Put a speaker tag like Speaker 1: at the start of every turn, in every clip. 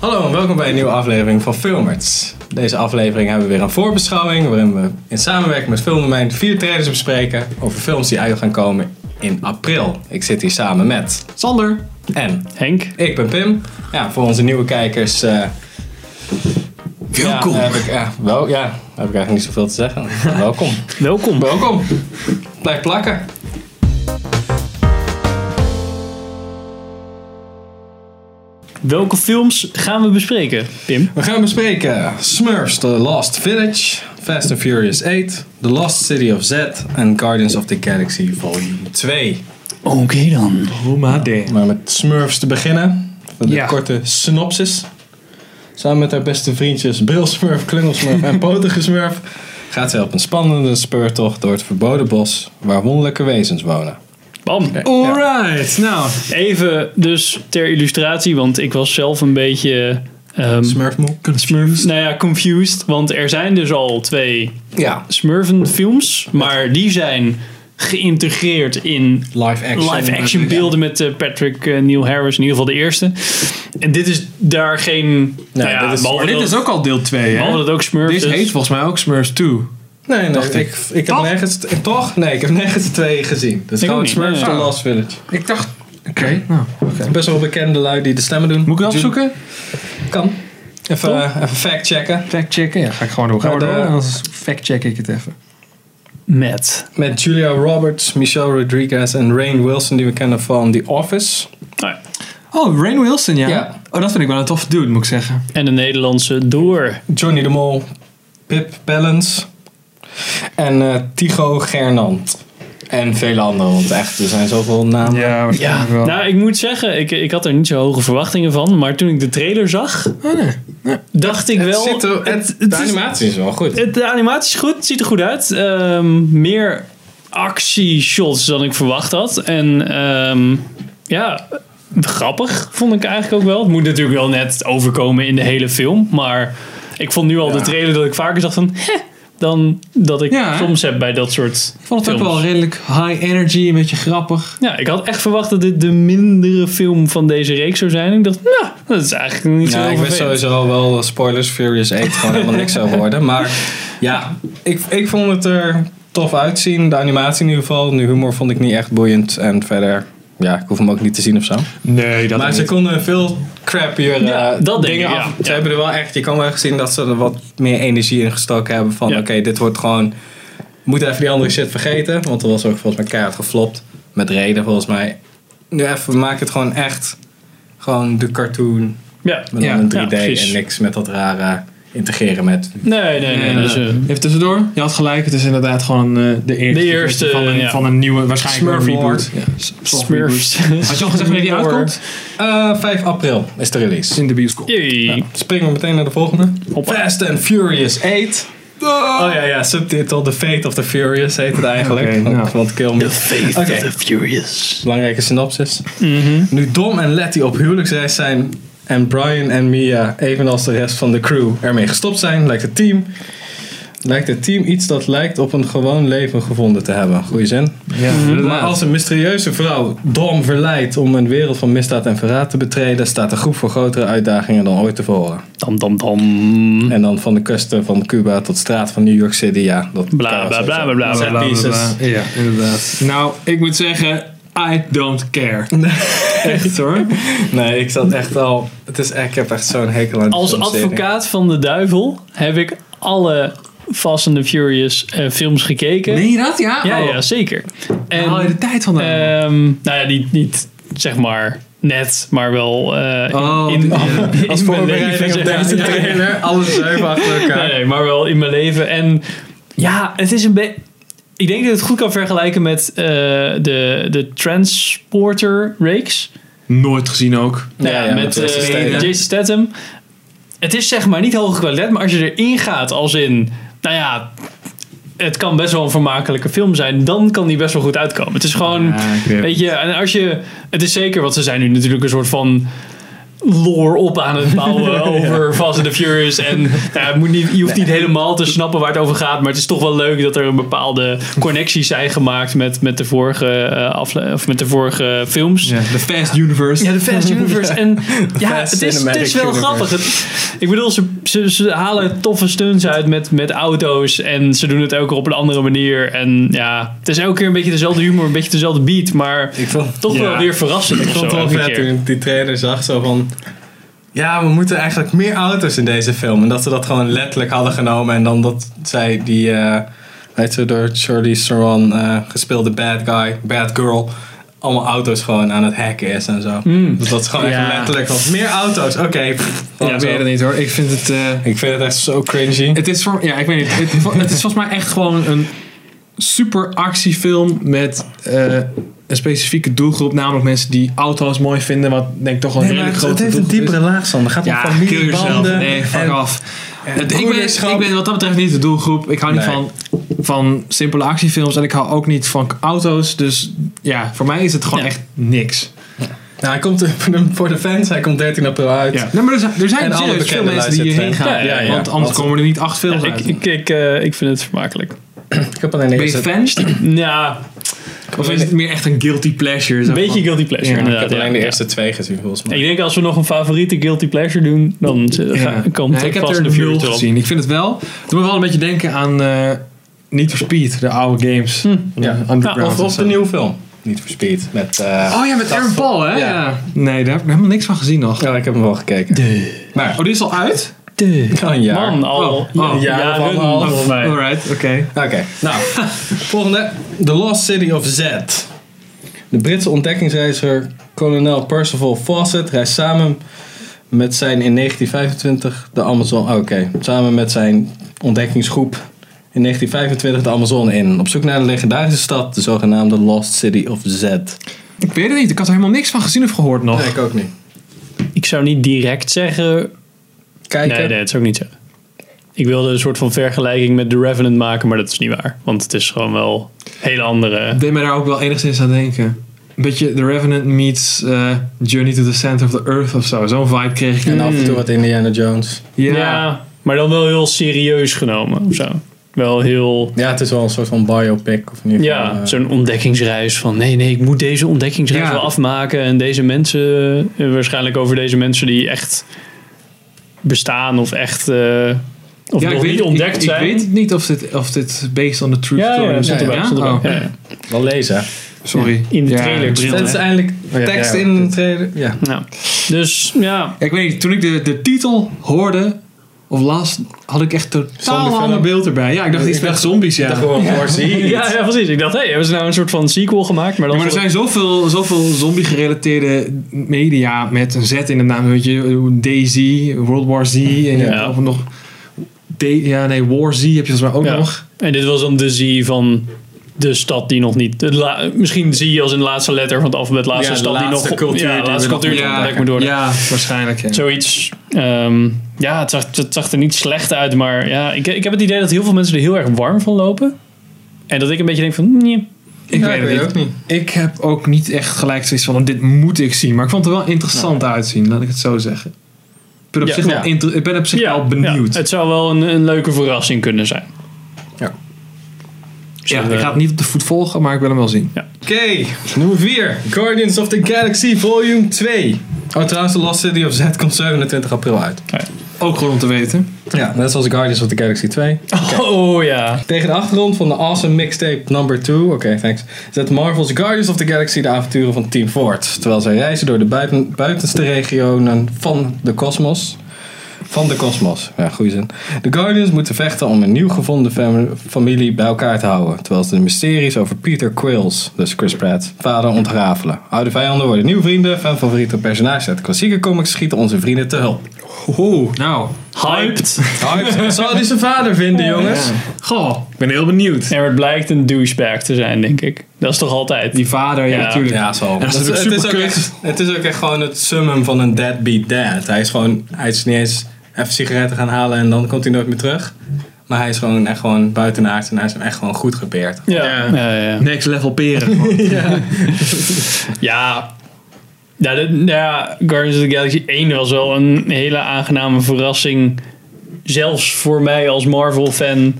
Speaker 1: Hallo en welkom bij een nieuwe aflevering van Filmerts. Deze aflevering hebben we weer een voorbeschouwing waarin we in samenwerking met Filmdomein vier trailers bespreken over films die uit gaan komen in april. Ik zit hier samen met Sander en
Speaker 2: Henk,
Speaker 1: ik ben Pim. Ja, voor onze nieuwe kijkers. eh, Ja, heb ik, ja, wel, ja, heb ik eigenlijk niet zoveel te zeggen. welkom.
Speaker 2: welkom.
Speaker 1: Welkom. Blijf plakken.
Speaker 2: Welke films gaan we bespreken, Pim?
Speaker 1: We gaan bespreken Smurfs The Last Village, Fast and Furious 8, The Lost City of Z en Guardians of the Galaxy Volume 2.
Speaker 2: Oké dan.
Speaker 3: Oma D.
Speaker 1: Maar met Smurfs te beginnen, met
Speaker 2: Ja.
Speaker 1: een korte synopsis. Samen met haar beste vriendjes Bril Smurf, Klungel Smurf en Potige Smurf gaat zij op een spannende speurtocht door het verboden bos waar wonderlijke wezens wonen.
Speaker 2: Bam.
Speaker 3: Alright, nou.
Speaker 2: Even dus ter illustratie, want ik was zelf een beetje ehm,
Speaker 1: Smurfmoe?
Speaker 3: Smurfs.
Speaker 2: nou ja, confused. Want er zijn dus al twee
Speaker 1: Ja.
Speaker 2: Smurfen films, maar die zijn geïntegreerd in
Speaker 1: Live action.
Speaker 2: live action beelden met eh, Patrick eh, Neil Harris, in ieder geval de eerste. En dit is daar geen... nou ja,
Speaker 1: dit is-
Speaker 2: behalve
Speaker 3: Maar dit
Speaker 2: dat-
Speaker 3: is ook al deel 2,
Speaker 2: behalve
Speaker 3: hè?
Speaker 2: dat ook Smurfs
Speaker 3: Oh, Dit
Speaker 2: is.
Speaker 3: heet volgens mij ook Smurfs 2.
Speaker 1: Nee, nee,
Speaker 3: Dacht
Speaker 1: ik,
Speaker 3: ik.
Speaker 1: ik, heb
Speaker 3: Toch?
Speaker 1: nergens... eh, Toch? Nee, ik heb nergens twee gezien. Dat is
Speaker 2: Ik ook
Speaker 1: gewoon
Speaker 2: niet,
Speaker 1: Smurfs
Speaker 2: nee,
Speaker 1: The
Speaker 2: nee.
Speaker 1: Last Village.
Speaker 3: Ik dacht... Oké, nou.
Speaker 1: Best wel bekende lui die de stemmen doen.
Speaker 3: Moet ik dat
Speaker 1: Jude-
Speaker 3: opzoeken?
Speaker 1: Kan. Even, eh, even fact checken.
Speaker 3: Fact checken? Ja, ga ik gewoon door. Ga
Speaker 1: Maar
Speaker 3: maar door.
Speaker 1: de-
Speaker 3: En dan fact check ik het even.
Speaker 2: Met...
Speaker 1: Met Julia Roberts, Michelle Rodriguez en Rain Wilson die we kennen van The Office.
Speaker 2: Nou ja.
Speaker 3: Oh, Rain Wilson, ja.
Speaker 1: Ja.
Speaker 3: Oh, dat vind ik wel een toffe dude, moet ik zeggen.
Speaker 2: En de Nederlandse door.
Speaker 1: Johnny de Mol, Pip Balance en eh Tycho Gernand. En vele anderen, want echt, er zijn zoveel namen.
Speaker 3: waarschijnlijk wel.
Speaker 2: Nou, ik moet zeggen, ik, ik had er niet zo hoge verwachtingen van. Maar toen ik de trailer zag,
Speaker 3: Oh,
Speaker 2: dacht ik wel...
Speaker 1: Zit er- het-
Speaker 2: het
Speaker 1: de
Speaker 2: is-
Speaker 1: animatie is wel goed.
Speaker 2: het- de animatie is goed, het ziet er goed uit. Ehm, meer actieshots dan ik verwacht had. En ehm, ja, grappig vond ik eigenlijk ook wel. Het moet natuurlijk wel net overkomen in de hele film. Maar ik vond nu al de trailer dat ik vaker dacht van... "Hè," dan dat ik
Speaker 3: Ja, hè?
Speaker 2: soms heb bij dat soort
Speaker 3: Ik vond het ook
Speaker 2: films.
Speaker 3: wel redelijk high energy, een beetje grappig.
Speaker 2: Ja, ik had echt verwacht dat dit de mindere film van deze reeks zou zijn. Ik dacht, nou, dat is eigenlijk niet zo
Speaker 1: Nou, ik wist
Speaker 2: vervelend.
Speaker 1: sowieso wel spoilers, Furious 8 gewoon helemaal niks zou worden. Maar ja, ik, ik vond het er tof uitzien. De animatie in ieder geval. De humor vond ik niet echt boeiend. En verder, ja, ik hoef hem ook niet te zien of zo.
Speaker 3: Nee, dat
Speaker 1: maar ze konden veel crappier eh,
Speaker 2: Ja, dat denk
Speaker 1: dingen
Speaker 2: ik, ja.
Speaker 1: af. Ze
Speaker 2: Ja.
Speaker 1: hebben er wel echt, je kan wel echt zien dat ze er wat meer energie in gestoken hebben. Van
Speaker 2: Ja.
Speaker 1: oké, dit wordt gewoon, we moeten even die andere shit vergeten. Want er was ook volgens mij keihard geflopt. Met reden volgens mij. Nu even, we maken het gewoon echt, gewoon de cartoon.
Speaker 2: Ja.
Speaker 1: Maar dan
Speaker 3: Ja,
Speaker 1: in
Speaker 2: ja,
Speaker 1: 3D
Speaker 2: precies.
Speaker 1: en niks met dat rare integreren met.
Speaker 2: Nee, nee, nee. Dus, eh,
Speaker 3: Even tussendoor, je had gelijk, het is inderdaad gewoon eh, de eerste,
Speaker 2: De eerste,
Speaker 3: versie van, een,
Speaker 2: ja.
Speaker 3: van een nieuwe, waarschijnlijk een
Speaker 1: Smurf
Speaker 3: reboot. Ja.
Speaker 2: Smurfs.
Speaker 3: Had je al gezegd wanneer die uitkomt?
Speaker 1: Eh, 5 april is de release.
Speaker 3: In de bioscoop.
Speaker 2: Jee.
Speaker 1: Springen we meteen naar de volgende.
Speaker 2: Hoppa.
Speaker 1: Fast and Furious 8. Oh ja, ja, subtitel The Fate of the Furious heet het eigenlijk.
Speaker 3: Oké,
Speaker 1: want,
Speaker 3: nou.
Speaker 1: want kill me. Oké,
Speaker 2: Furious.
Speaker 1: belangrijke synopsis. Nu Dom en Letty op huwelijksreis zijn en Brian en Mia, evenals de rest van de crew, ermee gestopt zijn, lijkt het team... Lijkt het team iets dat lijkt op een gewoon leven gevonden te hebben. Goeie zin.
Speaker 3: Ja,
Speaker 1: Maar als een mysterieuze vrouw Dom verleidt om een wereld van misdaad en verraad te betreden, staat de groep voor grotere uitdagingen dan ooit tevoren.
Speaker 2: Dam, dam, dam.
Speaker 1: En dan van de kusten van Cuba tot straat van New York City, ja. Dat
Speaker 2: Bla, bla, bla, bla, bla,
Speaker 1: Set
Speaker 2: bla,
Speaker 3: Bla, bla, bla.
Speaker 1: pieces.
Speaker 3: Ja, inderdaad. Nou, ik moet zeggen, I don't care. Echt hoor.
Speaker 1: Nee, ik zat echt al. Het is echt, ik heb echt zo'n hekel aan die
Speaker 2: Als
Speaker 1: filmserie.
Speaker 2: advocaat van de duivel heb ik alle Fast and the Furious eh, films gekeken.
Speaker 3: Meen je dat? Ja? eh,
Speaker 2: Ja,
Speaker 3: Oh.
Speaker 2: ja, zeker. En,
Speaker 3: Haal je de tijd vandaan?
Speaker 2: Ehm, nou ja, niet, niet zeg maar net, maar wel eh,
Speaker 3: Oh,
Speaker 2: in, in,
Speaker 3: ja.
Speaker 2: in
Speaker 1: Als
Speaker 2: mijn
Speaker 1: voorbereiding
Speaker 2: leven.
Speaker 1: op
Speaker 2: zeg maar.
Speaker 1: deze
Speaker 2: Ja, ja.
Speaker 1: trailer, alles zeven achter elkaar.
Speaker 2: Nee, nee, maar wel in mijn leven. En ja, het is een beetje. Ik denk dat ik het goed kan vergelijken met eh, de, de Transporter Rakes.
Speaker 3: Nooit gezien ook.
Speaker 2: Nou
Speaker 1: Ja,
Speaker 2: ja,
Speaker 1: ja,
Speaker 2: met
Speaker 1: met Jason
Speaker 2: eh,
Speaker 1: Statham.
Speaker 2: Jason Statham. Het is zeg maar niet hoge kwaliteit, maar als je erin gaat als in, nou ja, het kan best wel een vermakelijke film zijn, dan kan die best wel goed uitkomen. Het is gewoon,
Speaker 3: Ja, ik weet het.
Speaker 2: weet je, en als je, het is zeker, want ze zijn nu natuurlijk een soort van lore op aan het bouwen over Fast and the Furious. En nou, het moet niet, je hoeft niet helemaal te snappen waar het over gaat. Maar het is toch wel leuk dat er een bepaalde connecties zijn gemaakt met, met, de, vorige, eh, afle- of met de vorige films.
Speaker 3: Ja, The Fast Universe.
Speaker 2: Ja, de Fast Universe. En ja,
Speaker 1: Fast
Speaker 2: het is, het is
Speaker 1: Cinematic
Speaker 2: wel
Speaker 1: Universe.
Speaker 2: grappig. Het- ik bedoel, ze, ze, ze halen toffe stunts uit met, met auto's. En ze doen het elke keer op een andere manier. En ja, het is elke keer een beetje dezelfde humor, een beetje dezelfde beat. Maar
Speaker 1: Ik vond,
Speaker 2: toch
Speaker 3: Ja.
Speaker 2: wel weer verrassend.
Speaker 1: ik
Speaker 2: of zo,
Speaker 1: vond het wel
Speaker 2: elke
Speaker 1: vet
Speaker 2: keer.
Speaker 1: toen ik die trailer zag. Zo van... Ja, we moeten eigenlijk meer auto's in deze film. En dat ze dat gewoon letterlijk hadden genomen. En dan dat zij die... eh weet je, door Charlize Theron eh, gespeelde bad guy, bad girl... Allemaal auto's gewoon aan het hacken is en zo. Dus dat is gewoon
Speaker 2: Ja.
Speaker 1: echt letterlijk van... Meer auto's, oké. pff,
Speaker 3: Ja, ik
Speaker 1: zo.
Speaker 3: weet het niet hoor. Ik vind het... eh,
Speaker 1: ik vind het echt zo cringy.
Speaker 3: Het is voor, ja, ik weet niet. Het, het is volgens mij echt gewoon een super actiefilm met eh, een specifieke doelgroep, namelijk mensen die auto's mooi vinden, wat denk ik toch wel een
Speaker 1: Nee, maar
Speaker 3: hele
Speaker 1: het,
Speaker 3: grote
Speaker 1: het heeft een
Speaker 3: doelgroep
Speaker 1: diepere laag, Sander. Het
Speaker 3: is.
Speaker 1: gaat om
Speaker 3: Ja, kill yourself.
Speaker 1: familiebanden.
Speaker 3: Nee, fuck
Speaker 1: en-
Speaker 3: off. Het- Eh, ik, ben,
Speaker 1: broederschap.
Speaker 3: ik ben wat dat betreft niet de doelgroep. Ik hou niet
Speaker 1: Nee.
Speaker 3: van, van simpele actiefilms en ik hou ook niet van auto's. Dus ja, voor mij is het gewoon
Speaker 2: Ja.
Speaker 3: echt niks.
Speaker 1: Nou, hij komt voor de fans, hij komt 13 april uit.
Speaker 3: Ja. Nee, maar er zijn, er zijn
Speaker 1: En alle
Speaker 3: serieus dus veel
Speaker 1: bekende
Speaker 3: mensen die hierheen gaan.
Speaker 1: luisterfans.
Speaker 2: Ja, ja, ja.
Speaker 3: Want anders
Speaker 1: Want-
Speaker 3: komen er niet acht films
Speaker 2: Ja, ik,
Speaker 3: uit.
Speaker 2: ik, ik, eh, ik vind het vermakelijk.
Speaker 1: Ik heb alleen
Speaker 3: ben je
Speaker 1: niks.
Speaker 3: fan?
Speaker 2: Ja,
Speaker 3: Of is het meer echt een guilty pleasure?
Speaker 2: een
Speaker 3: zeg
Speaker 2: beetje
Speaker 3: maar?
Speaker 2: guilty pleasure
Speaker 3: Ja, ik
Speaker 1: Ik
Speaker 2: inderdaad.
Speaker 1: heb alleen
Speaker 2: ja.
Speaker 1: de eerste twee gezien, volgens
Speaker 2: Ik
Speaker 1: mij.
Speaker 2: denk als we nog een favoriete guilty pleasure doen, dan eh,
Speaker 3: Ja.
Speaker 2: ga- komt
Speaker 3: Ja, ik heb
Speaker 2: Fast
Speaker 3: er
Speaker 2: and the
Speaker 3: een
Speaker 2: Furious
Speaker 3: nul
Speaker 2: erop.
Speaker 3: gezien. Ik vind het wel. Het doet me wel een beetje denken aan eh Need for Speed, de oude games.
Speaker 1: Ja.
Speaker 3: Underground.
Speaker 1: Of,
Speaker 3: of
Speaker 1: of
Speaker 3: zo.
Speaker 1: de nieuwe film. Niet voor Speed. Met, eh,
Speaker 3: Oh ja, met Aaron Paul, hè?
Speaker 1: Ja.
Speaker 3: Ja. Nee, daar heb ik helemaal niks van gezien nog.
Speaker 1: ja, ik heb hem wel gekeken.
Speaker 3: Maar, oh, die is al uit?
Speaker 1: Al een jaar.
Speaker 2: Man, al
Speaker 3: Oh, oh,
Speaker 2: ja-
Speaker 1: ja,
Speaker 2: jaren
Speaker 1: van al-
Speaker 2: volgens mij.
Speaker 3: Alright, oké.
Speaker 1: Oké, nou. volgende. The Lost City of Z. De Britse ontdekkingsreiziger kolonel Percival Fawcett reist samen met zijn in 1925 de Amazon... Oké, samen met zijn ontdekkingsgroep in 1925 de Amazon in. Op zoek naar de legendarische stad, de zogenaamde Lost City of Z.
Speaker 3: Ik weet het niet. Ik had er helemaal niks van gezien of gehoord nog.
Speaker 1: Nee, ik ook niet.
Speaker 2: Ik zou niet direct zeggen
Speaker 1: Kijken.
Speaker 2: Nee, nee, dat zou ik niet zeggen. Ik wilde een soort van vergelijking met The Revenant maken, maar dat is niet waar. Want het is gewoon wel een hele andere...
Speaker 3: Ik deed mij daar ook wel enigszins aan denken. Een beetje The Revenant meets eh, Journey to the Center of the Earth of zo. Zo'n vibe kreeg ik.
Speaker 1: En af en toe wat Indiana Jones.
Speaker 3: Ja.
Speaker 2: Maar dan wel heel serieus genomen of zo. Wel heel...
Speaker 1: Ja, het is wel een soort van biopic. Of in ieder geval,
Speaker 2: Ja,
Speaker 1: eh,
Speaker 2: zo'n ontdekkingsreis van nee, nee, ik moet deze ontdekkingsreis
Speaker 3: Ja.
Speaker 2: wel afmaken. En deze mensen, eh, waarschijnlijk over deze mensen die echt bestaan of echt, eh, of
Speaker 3: Ja,
Speaker 2: nog niet
Speaker 3: ik,
Speaker 2: ontdekt
Speaker 3: ik,
Speaker 2: zijn.
Speaker 3: Ik weet niet of dit, of dit based on the true
Speaker 2: ja,
Speaker 3: story
Speaker 2: ja,
Speaker 3: is.
Speaker 2: zit erbij.
Speaker 3: Ja?
Speaker 2: zit erbij.
Speaker 3: Oh,
Speaker 2: Ja, ja.
Speaker 1: wel lezen.
Speaker 3: Sorry.
Speaker 2: In de trailer.
Speaker 3: bril,
Speaker 1: Dat is
Speaker 3: hè.
Speaker 1: eindelijk
Speaker 3: ja,
Speaker 1: tekst
Speaker 3: ja,
Speaker 1: in
Speaker 3: dit-
Speaker 1: de trailer. Oh, Ja.
Speaker 2: Nou, dus ja,
Speaker 3: Ja, ik weet niet, toen ik de, de titel hoorde of las, had ik echt totaal een
Speaker 1: Zombiefilm.
Speaker 3: ander beeld erbij. Ja, ik dacht
Speaker 1: Ik
Speaker 3: iets met
Speaker 1: dacht-
Speaker 3: zombies, ja.
Speaker 1: Dat gewoon voor zie.
Speaker 2: Ja, ja, precies. Ik dacht, hé, hey, hebben ze nou een soort van sequel gemaakt? Maar,
Speaker 3: Ja,
Speaker 2: dan
Speaker 3: maar er zijn zoveel, zoveel zombie-gerelateerde media met een Z in de naam. Weet je, DayZ, World War Z. En
Speaker 2: Ja.
Speaker 3: of nog... D, ja, nee, War Z heb je volgens mij ook
Speaker 2: Ja.
Speaker 3: nog.
Speaker 2: En dit was dan de Z van de stad die nog niet... het la- misschien zie je als in de laatste letter van het alfabet, laatste
Speaker 1: Ja, de
Speaker 2: stad
Speaker 1: laatste
Speaker 2: die nog...
Speaker 1: cultuur
Speaker 2: ja,
Speaker 1: die
Speaker 2: de
Speaker 1: we
Speaker 2: laatste
Speaker 1: nog
Speaker 2: cultuur die
Speaker 1: moeten
Speaker 2: ontdekt
Speaker 1: ontdekken.
Speaker 2: moet worden.
Speaker 3: ja waarschijnlijk. Ja.
Speaker 2: Zoiets. Ehm, ja, het zag, het zag er niet slecht uit, maar ja, ik, ik heb het idee dat heel veel mensen er heel erg warm van lopen. En dat ik een beetje denk van, nee.
Speaker 3: Ik weet het niet.
Speaker 1: ook niet.
Speaker 3: Ik heb ook niet echt gelijk zoiets van, dit moet ik zien. Maar ik vond het er wel interessant uitzien, laat ik het zo zeggen. Ik ben op
Speaker 2: Ja.
Speaker 3: zich, wel,
Speaker 1: Ja.
Speaker 3: inter- ik ben op zich wel benieuwd.
Speaker 2: ja, het zou wel een, een leuke verrassing kunnen zijn.
Speaker 1: Ja.
Speaker 2: Dus
Speaker 3: Ja,
Speaker 2: dat,
Speaker 3: ik
Speaker 2: eh,
Speaker 3: ga het niet op de voet volgen, maar ik wil hem wel zien.
Speaker 1: Oké, nummer 4. Guardians of the Galaxy Volume 2. Oh, trouwens, The Lost City of Z komt 27 april uit.
Speaker 3: Ook gewoon om te weten.
Speaker 1: Ja, net zoals Guardians of the Galaxy 2.
Speaker 2: Oh ja.
Speaker 1: Tegen de achtergrond van de awesome mixtape number 2, oké, thanks, zet Marvel's Guardians of the Galaxy de avonturen van Team voort. Terwijl zij reizen door de buiten, buitenste regionen van de kosmos. Van de kosmos, ja, goede zin. De Guardians moeten vechten om een nieuw gevonden fam- familie bij elkaar te houden. Terwijl ze de mysteries over Peter Quills, dus Chris Pratt, vader ontrafelen. Oude vijanden worden nieuwe vrienden, fan favoriete personages uit klassieke comics schieten onze vrienden te hulp.
Speaker 3: Oeh, nou.
Speaker 2: Hyped.
Speaker 1: Zal hij zijn vader vinden, jongens?
Speaker 3: Goh, ik ben heel benieuwd.
Speaker 2: En het blijkt een douchebag te zijn, denk ik. Dat is toch altijd.
Speaker 3: Die vader, ja,
Speaker 2: Ja.
Speaker 3: natuurlijk.
Speaker 1: Ja, zo.
Speaker 3: dat is
Speaker 1: het,
Speaker 3: natuurlijk
Speaker 1: is ook
Speaker 3: superkut.
Speaker 1: echt, het is ook echt gewoon het summum van een deadbeat dad. Hij is gewoon, hij is niet eens even sigaretten gaan halen en dan komt hij nooit meer terug. Maar hij is gewoon echt gewoon buitenaard en hij is hem echt gewoon goed gebeerd.
Speaker 2: Ja, ja, ja.
Speaker 3: Next level peren. gewoon.
Speaker 2: ja. Ja, de, nou ja, Guardians of the Galaxy 1 was wel een hele aangename verrassing. Zelfs voor mij als Marvel-fan.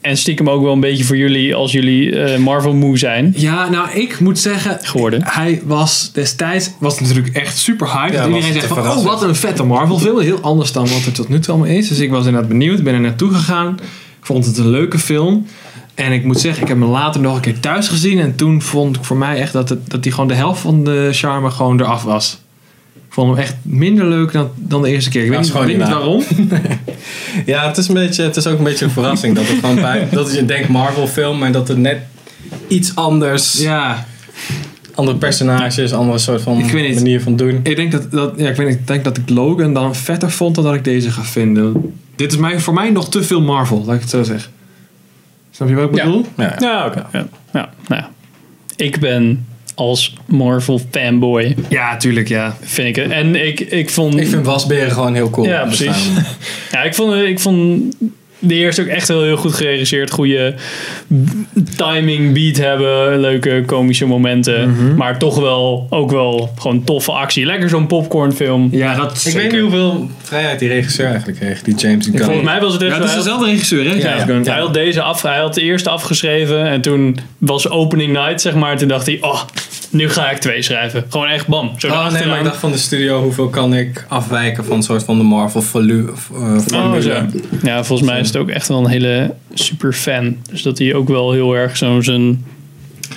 Speaker 2: En stiekem ook wel een beetje voor jullie als jullie eh, Marvel-moe zijn
Speaker 3: Ja, nou, ik moet zeggen,
Speaker 2: geworden.
Speaker 3: hij was destijds was natuurlijk echt super hype.
Speaker 1: Ja,
Speaker 3: dat
Speaker 1: was
Speaker 3: iedereen
Speaker 1: het
Speaker 3: zegt van,
Speaker 1: een
Speaker 3: oh,
Speaker 1: verrassing.
Speaker 3: wat een vette Marvel film. Heel anders dan wat er tot nu toe allemaal is. Dus ik was inderdaad benieuwd, ben er naartoe gegaan. Ik vond het een leuke film. En ik moet zeggen, ik heb hem later nog een keer thuis gezien. En toen vond ik voor mij echt dat, het, dat die gewoon de helft van de charme gewoon eraf was. Ik vond hem echt minder leuk dan, dan de eerste keer. Ik
Speaker 1: Dat
Speaker 3: weet,
Speaker 1: is
Speaker 3: niet,
Speaker 1: gewoon
Speaker 3: weet
Speaker 1: niet
Speaker 3: niet
Speaker 1: waar.
Speaker 3: waarom.
Speaker 1: Ja, het is, een beetje, het is ook een beetje een verrassing dat het gewoon bij... Dat je denkt Marvel film en dat het net iets anders...
Speaker 3: Ja,
Speaker 1: Andere personages, andere soort van
Speaker 3: Ik weet niet.
Speaker 1: manier van doen.
Speaker 3: Ik denk dat, dat, ja, ik, weet, niet, ik denk dat ik Logan dan vetter vond dan dat ik deze ga vinden. Dit is mij, voor mij nog te veel Marvel, laat ik het zo zeggen. Snap je wat ik
Speaker 2: Ja.
Speaker 3: bedoel?
Speaker 1: Ja.
Speaker 2: Ja, oké. Ja. Ja, nou ja. Ik ben als Marvel-fanboy,
Speaker 3: Ja, tuurlijk, ja.
Speaker 2: vind ik het. En ik, ik vond...
Speaker 1: Ik vind wasberen gewoon heel cool.
Speaker 2: Ja, precies.
Speaker 1: Bestaan.
Speaker 2: Ja, ik vond, eh, ik vond de eerste ook echt heel, heel goed geregisseerd. Goede timing, beat hebben, leuke komische momenten.
Speaker 1: Mhm.
Speaker 2: Maar toch wel ook wel gewoon toffe actie. Lekker zo'n popcornfilm.
Speaker 3: Ja, dat
Speaker 1: Ik weet niet hoeveel vrijheid die regisseur eigenlijk kreeg, die James Gunn.
Speaker 2: Volgens mij was het echt
Speaker 3: Ja,
Speaker 2: wel
Speaker 3: dat
Speaker 2: heel-
Speaker 3: is dezelfde regisseur, hè?
Speaker 1: Ja,
Speaker 3: Ja,
Speaker 1: ja.
Speaker 2: Hij had deze af, hij had de eerste afgeschreven en toen was opening night zeg maar. Toen dacht hij, oh, nu ga ik twee schrijven. Gewoon echt bam. Zo
Speaker 1: Oh nee, maar ik
Speaker 2: erachteraan.
Speaker 1: dacht van de studio, hoeveel kan ik afwijken van een soort van de Marvel volu- eh,
Speaker 2: Oh,
Speaker 1: formule.
Speaker 2: zo. Ja, volgens mij is het ook echt wel een hele super fan. Dus dat hij ook wel heel erg zo'n zijn,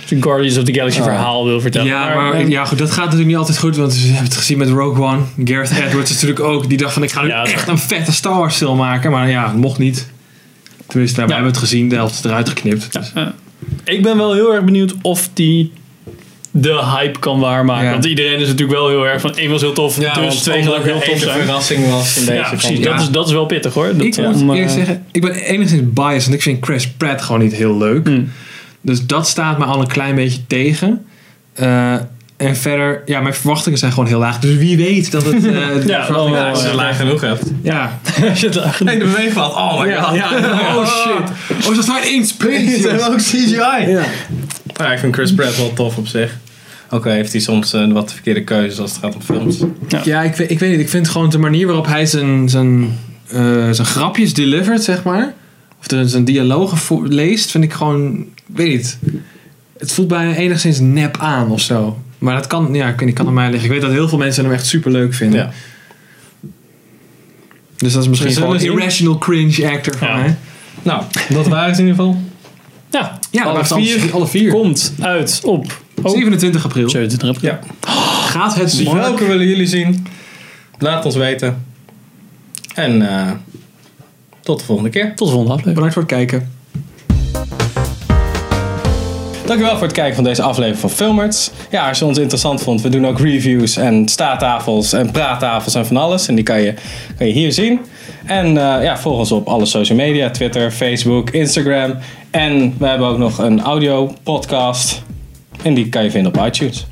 Speaker 2: zijn Guardians of the Galaxy
Speaker 1: Ah.
Speaker 2: verhaal wil vertellen. eh,
Speaker 3: maar, ja, goed, dat gaat natuurlijk niet altijd goed, want we hebben het gezien met Rogue One. Gareth Edwards is natuurlijk ook, die dacht van, ik ga nu
Speaker 2: Ja, dat-
Speaker 3: echt een vette Star Wars film maken. Maar ja, mocht niet. Tenminste, nou, we
Speaker 2: Ja.
Speaker 3: hebben het gezien, de helft is eruit geknipt. Dus-
Speaker 2: Ik ben wel heel erg benieuwd of die de hype kan waarmaken.
Speaker 3: Ja.
Speaker 2: Want iedereen is natuurlijk wel heel erg van één was heel tof,
Speaker 1: Ja,
Speaker 2: dus twee
Speaker 1: omdat
Speaker 2: gelijk heel
Speaker 1: er
Speaker 2: tof
Speaker 1: één de
Speaker 2: zijn.
Speaker 1: verrassing was in deze
Speaker 2: Ja,
Speaker 1: van-
Speaker 2: precies.
Speaker 3: ja.
Speaker 2: Dat, is, dat is wel pittig hoor. Dat,
Speaker 3: Ik
Speaker 2: om,
Speaker 3: moet eerlijk
Speaker 2: eh,
Speaker 3: zeggen, ik ben enigszins biased. Want ik vind Crash Pratt gewoon niet heel leuk.
Speaker 2: Hmm.
Speaker 3: Dus dat staat me al een klein beetje tegen. Eh, en verder, ja, mijn verwachtingen zijn gewoon heel laag. Dus wie weet dat het... eh, de
Speaker 2: Ja,
Speaker 3: verwachtingen-
Speaker 2: wel,
Speaker 1: Ja, als je het laag genoeg hebt.
Speaker 3: ja.
Speaker 2: als je het laag-
Speaker 1: Nee, de beweging valt. Oh my god.
Speaker 3: Oh shit. Oh, ze staan in space.
Speaker 1: Die zijn
Speaker 3: joh.
Speaker 1: ook CGI.
Speaker 3: Ja.
Speaker 1: Ja, ik vind Chris Pratt wel tof op zich. Ook al heeft hij soms eh, wat verkeerde keuzes als het gaat om films.
Speaker 3: Ja, ik weet, ik weet niet. Ik vind gewoon de manier waarop hij zijn, zijn, eh, zijn grapjes delivert, zeg maar. Of de- zijn dialogen vo- leest, vind ik gewoon... ik Weet niet. Het voelt bijna enigszins nep aan of zo. Maar dat kan, ja, ik weet niet, kan aan mij liggen. Ik weet dat heel veel mensen hem echt super leuk vinden.
Speaker 1: Ja.
Speaker 3: Dus dat is misschien
Speaker 1: We zullen
Speaker 3: gewoon een
Speaker 1: zien.
Speaker 3: irrational cringe actor van
Speaker 2: Ja.
Speaker 3: mij.
Speaker 1: Nou, dat waren ze in ieder geval.
Speaker 2: Ja,
Speaker 3: Ja,
Speaker 2: alle
Speaker 3: maar
Speaker 2: vier
Speaker 3: vier, alle vier.
Speaker 2: komt uit op oh,
Speaker 3: 27 april.
Speaker 2: 27 april.
Speaker 1: Ja.
Speaker 3: Gaat het
Speaker 1: Dus
Speaker 3: worden?
Speaker 1: welke willen jullie zien? Laat ons weten. En eh, tot de volgende keer.
Speaker 2: Tot de volgende aflevering.
Speaker 3: Bedankt voor het kijken.
Speaker 1: Dankjewel voor het kijken van deze aflevering van Filmerts. Ja, als je ons interessant vond, we doen ook reviews en staattafels en praattafels en van alles. En die kan je, kan je hier zien. En eh, ja, volg ons op alle social media, Twitter, Facebook, Instagram. En we hebben ook nog een audio podcast. En die kan je vinden op iTunes.